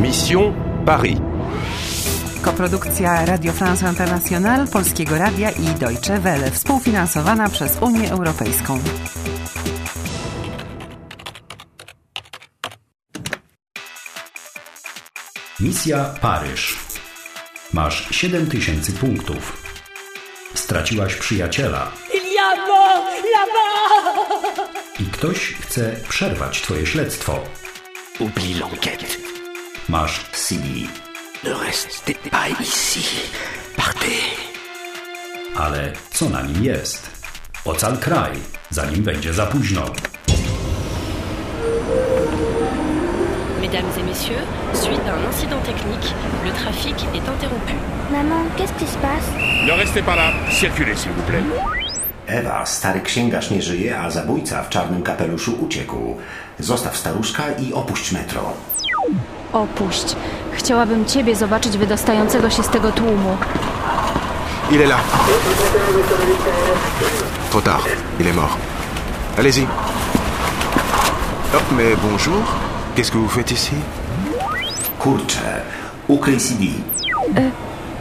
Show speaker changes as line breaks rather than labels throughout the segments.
Mission Paris.
Koprodukcja Radio France International, Polskiego Radia i Deutsche Welle, współfinansowana przez Unię Europejską.
Misja Paryż. Masz 7000 punktów. Straciłaś przyjaciela
Il y a mort là-bas
i ktoś chce przerwać twoje śledztwo.
Oublie l'enquête.
Masz CD,
Ne restez pas ici. Partez.
ale co na nim jest? Ocal kraj, zanim będzie za późno.
Mesdames et messieurs, suite à un incident technique, le trafic est interrompu.
Maman, qu'est-ce qui se passe
Ne restez pas là, circulez s'il vous plaît.
Ewa, stary księgarz nie żyje, a zabójca w czarnym kapeluszu uciekł. Zostaw staruszka i opuść metro.
Opuść. Chciałabym ciebie zobaczyć wydostającego się z tego tłumu.
Il est là. Trop tard, il est mort. Allez-y. Oh, mais bonjour. Qu'est-ce que vous faites ici
Kurczę, ukryj CD.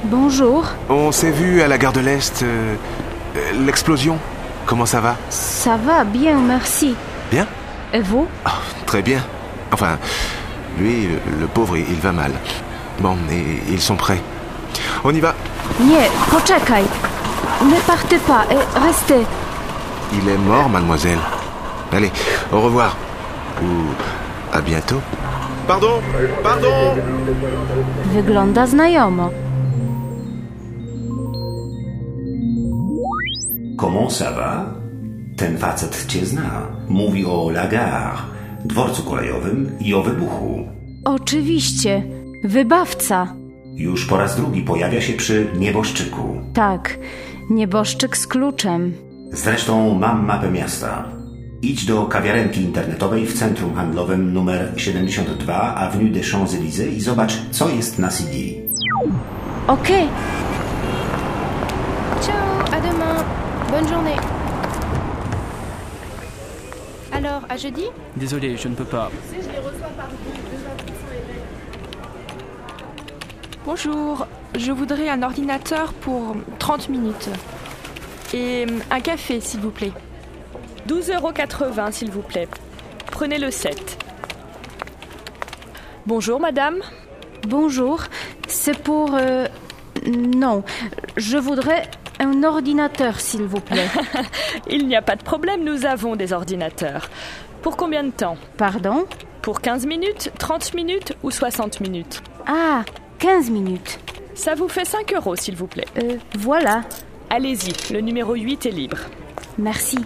Bonjour.
On s'est vu à la gare de l'Est. euh, euh, L'explosion. Comment ça va
Ça va bien, merci.
Bien
Et vous
Ah, Très bien. Enfin, lui, euh, le pauvre, il il va mal. Bon, et ils sont prêts. On y va.
Nie, poczekaj. Ne partez pas, et restez.
Il est mort, mademoiselle. Allez, au revoir. Ou à bientôt. Pardon Pardon
Wygląda znajomo.
Comment ça va? Ten facet cię zna. Mówi o la gare, dworcu kolejowym i o wybuchu.
Oczywiście. Wybawca.
Już po raz drugi pojawia się przy nieboszczyku.
Tak. Nieboszczyk z kluczem.
Zresztą mam mapę miasta. Idź do kawiarenki internetowej w centrum handlowym numer 72 Avenue des Champs-Élysées i zobacz, co jest na CD.
Okej. Ciao, à demain. Bonne journée. Alors, à jeudi
Désolé, je ne peux pas.
Bonjour, je voudrais un ordinateur pour 30 minutes. Et hum, un café, s'il vous plaît.
12,80€ s'il vous plaît. Prenez le 7. Bonjour madame.
Bonjour, c'est pour... euh, non, je voudrais un ordinateur, s'il vous plaît.
Il n'y a pas de problème, nous avons des ordinateurs. Pour combien de temps
Pardon
Pour 15 minutes, 30 minutes ou 60 minutes
Ah, 15 minutes.
Ça vous fait 5 euros s'il vous plaît.
Euh, voilà,
Allez-y, le numéro 8 est libre.
merci.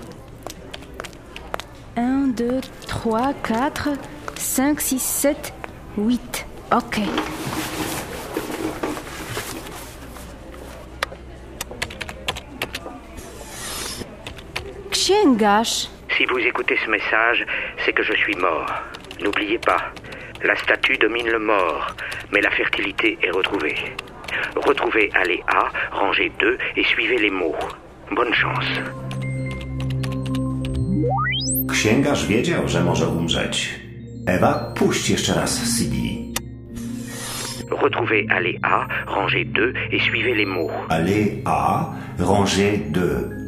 1, 2, 3, 4, 5, 6, 7, 8. Ok. Księgarz,
Si vous écoutez ce message, c'est que je suis mort. N'oubliez pas, la statue domine le mort, mais la fertilité est retrouvée. Retrouvez allée A, rangée 2 et suivez les mots. Bonne chance.
Księgarz wiedział, że może umrzeć. Ewa, puść jeszcze raz CD.
Retrouvez allée A, rangée 2 et suivez les mots.
Allée A, rangée 2.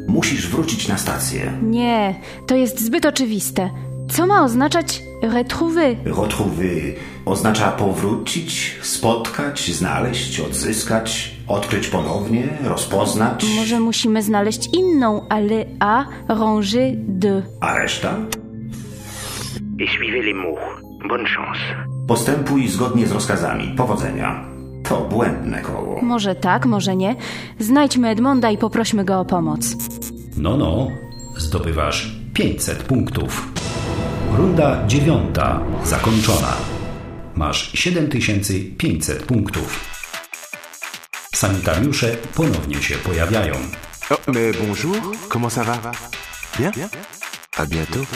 Musisz wrócić na stację.
Nie, to jest zbyt oczywiste. Co ma oznaczać retrouver?
Retrouver oznacza powrócić, spotkać, znaleźć, odzyskać, odkryć ponownie, rozpoznać.
Może musimy znaleźć inną ale A rangée de.
A reszta?
Et suivez les mots. Bonne chance.
Postępuj zgodnie z rozkazami. Powodzenia. To błędne koło.
Może tak, może nie. Znajdźmy Edmonda i poprośmy go o pomoc.
No, no, zdobywasz 500 punktów. Runda dziewiąta zakończona. Masz 7500 punktów. Sanitariusze ponownie się pojawiają.
Oh, mais bonjour. Comment ça va Bien À bientôt.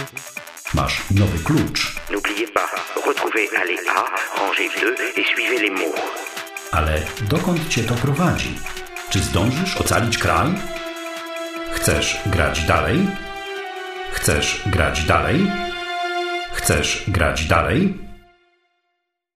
Masz nowy klucz,
N'oubliez pas, retrouvez allée A, rangée 2 et suivez les mots.
ale dokąd cię to prowadzi? Czy zdążysz ocalić kraj? Chcesz grać dalej? Chcesz grać dalej? Chcesz grać dalej?